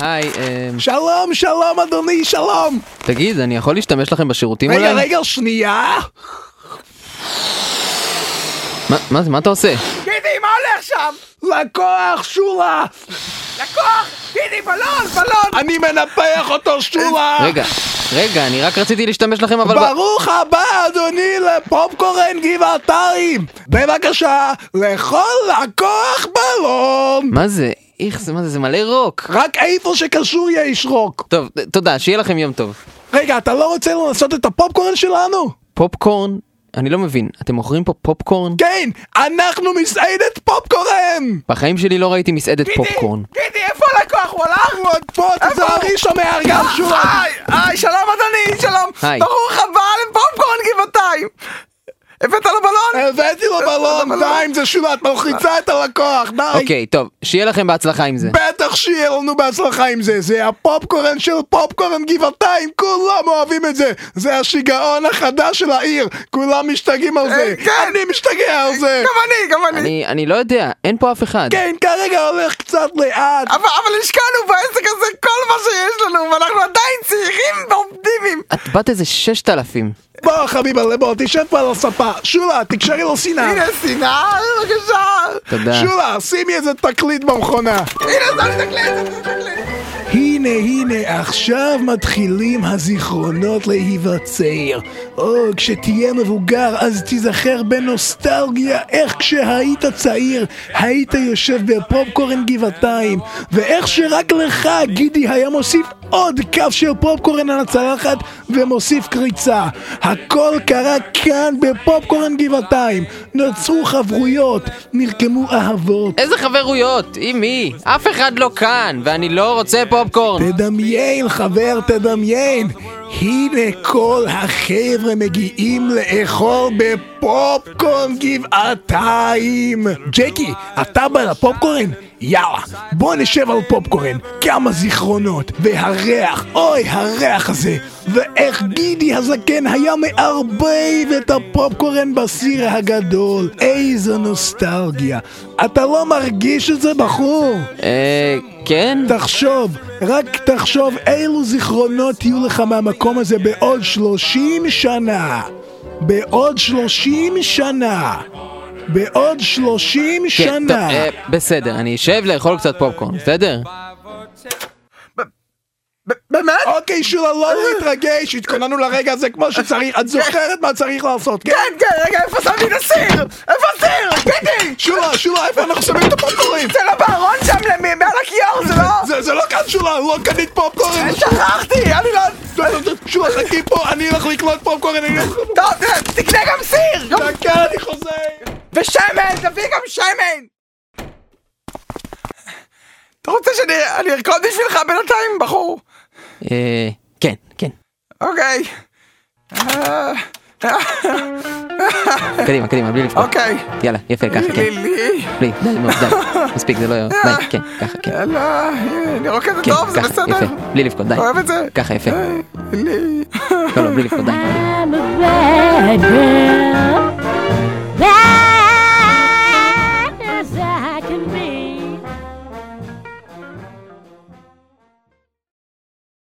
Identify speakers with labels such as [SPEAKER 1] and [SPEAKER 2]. [SPEAKER 1] היי, אה,
[SPEAKER 2] שלום, שלום אדוני, שלום.
[SPEAKER 1] תגיד, אני יכול להשתמש לכם בשירותים אולי?
[SPEAKER 2] רגע, רגע, שנייה.
[SPEAKER 1] מה- מה זה, מה אתה עושה?
[SPEAKER 2] גידי, מה הולך שם? לקוח, שולה. לקוח, גידי, בלון, בלון. אני מנפח אותו, שולה.
[SPEAKER 1] רגע, רגע, אני רק רציתי להשתמש לכם, אבל...
[SPEAKER 2] ברוך הבא אדוני לפופקורן גבעתיים! בבקשה, לכל לקוח בלון!
[SPEAKER 1] מה זה? איך זה, מה זה, זה מלא רוק.
[SPEAKER 2] רק איפה שקשור יהיה איש רוק.
[SPEAKER 1] טוב, ת- תודה, שיהיה לכם יום טוב.
[SPEAKER 2] רגע, אתה לא רוצה לנסות את הפופקורן שלנו?
[SPEAKER 1] פופקורן? אני לא מבין, אתם מוכרים פה פופקורן?
[SPEAKER 2] כן, אנחנו מסעדת פופקורן!
[SPEAKER 1] בחיים שלי לא ראיתי מסעדת פופקורן.
[SPEAKER 2] גידי, איפה הלקוח? הוא הלך? הוא עוד פה, תיזהרי שומע גם
[SPEAKER 3] אה,
[SPEAKER 2] שורה!
[SPEAKER 3] היי, היי, שלום אדוני, שלום.
[SPEAKER 1] היי.
[SPEAKER 3] ברוך הבא לפופקורן גבעתיים. הבאת לו בלון?
[SPEAKER 2] הבאתי לו
[SPEAKER 3] לא?
[SPEAKER 2] בלון, די עם זה שולה, את
[SPEAKER 3] אה.
[SPEAKER 2] מלחיצה את הלקוח, די!
[SPEAKER 1] אוקיי, טוב, שיהיה לכם בהצלחה עם זה.
[SPEAKER 2] בטח שיהיה לנו בהצלחה עם זה, זה הפופקורן של פופקורן גבעתיים, כולם אוהבים את זה, זה השיגעון החדש של העיר, כולם משתגעים על זה,
[SPEAKER 3] אה, כן. אה,
[SPEAKER 2] אני משתגע על זה.
[SPEAKER 3] גם אני, גם אני.
[SPEAKER 1] אני, אני לא יודע, אין פה אף אחד.
[SPEAKER 2] כן, כרגע הולך קצת לאט.
[SPEAKER 3] אבל אבל השקענו בעסק הזה כל מה שיש לנו, ואנחנו עדיין צעירים ואופטימיים.
[SPEAKER 1] את בת איזה ששת אלפים.
[SPEAKER 2] בוא חביבה, בוא, תשב פה על הספה. שולה, תקשרי לו סינר.
[SPEAKER 3] הנה שנאה, בבקשה.
[SPEAKER 1] תודה.
[SPEAKER 2] שולה, שימי איזה תקליט במכונה.
[SPEAKER 3] הנה, זה מתקלט, זה מתקלט.
[SPEAKER 2] הנה, הנה, עכשיו מתחילים הזיכרונות להיווצר. או, כשתהיה מבוגר, אז תיזכר בנוסטלגיה איך כשהיית צעיר, היית יושב בפופקורן גבעתיים, ואיך שרק לך, גידי, היה מוסיף עוד כף של פופקורן על הצלחת, ומוסיף קריצה. הכל קרה כאן בפופקורן גבעתיים. נוצרו חברויות, נרקמו אהבות,
[SPEAKER 1] איזה חברויות? עם מי? אף אחד לא כאן, ואני לא רוצה פופקורן.
[SPEAKER 2] תדמיין, חבר, תדמיין. הנה כל החבר'ה מגיעים לאכול בפופקורן גבעתיים. ג'קי, אתה בא לפופקורן? יאללה, בוא נשב על פופקורן. כמה זיכרונות, והריח, אוי, הריח הזה. ואיך גידי הזקן היה מערבב את הפופקורן בסיר הגדול. איזו נוסטלגיה. אתה לא מרגיש את זה, בחור?
[SPEAKER 1] אה... כן?
[SPEAKER 2] תחשוב, רק תחשוב אילו זיכרונות יהיו לך מהמקום הזה בעוד 30 שנה. בעוד 30 שנה. בעוד 30
[SPEAKER 1] כן, טוב,
[SPEAKER 2] שנה.
[SPEAKER 1] אה, בסדר, אני אשב לאכול קצת פופקורן, בסדר?
[SPEAKER 3] ב- באמת?
[SPEAKER 1] אה,
[SPEAKER 2] אוקיי, שולה, לא להתרגש, התכוננו לרגע הזה כמו שצריך, את זוכרת מה צריך לעשות, כן?
[SPEAKER 3] כן, כן, רגע, איפה שמתי את הסיר? איפה הסיר? גידי!
[SPEAKER 2] שולה, שולה, איפה אנחנו שמים את הפופקורן?
[SPEAKER 3] זה לא בארון שם, למי- מעל הכיור, זה לא...
[SPEAKER 2] זה, זה לא כאן שולה, לא קנית פופקורן!
[SPEAKER 3] שכחתי, אני לא...
[SPEAKER 2] שולה, חכי פה, אני הולך לקנות פופקורן, אני הולך...
[SPEAKER 3] טוב, ת- תקנה גם סיר!
[SPEAKER 1] לא.
[SPEAKER 3] גם-
[SPEAKER 2] דקה, אני חוזר!
[SPEAKER 3] ושמן, תביא גם שמן! אתה רוצה שאני אני ארקוד בשבילך בינתיים, בחור?
[SPEAKER 1] אה... כן, כן.
[SPEAKER 3] אוקיי. אה,
[SPEAKER 1] קדימה, קדימה, בלי לבכות.
[SPEAKER 3] אוקיי.
[SPEAKER 1] יאללה, יפה, ככה, כן.
[SPEAKER 3] לילי.
[SPEAKER 1] בלי, די, נו, די. מספיק, זה לא... די, כן, ככה, כן.
[SPEAKER 3] לא, אני רוקדת
[SPEAKER 1] כן,
[SPEAKER 3] טוב, זה
[SPEAKER 1] ככה,
[SPEAKER 3] בסדר?
[SPEAKER 1] יפה. כן. בלי לבכות, די.
[SPEAKER 3] אתה אוהב את זה?
[SPEAKER 1] ככה, יפה.
[SPEAKER 3] אה, לילי.
[SPEAKER 1] לא, לא, בלי לבכות, די.
[SPEAKER 4] I'm a bad girl.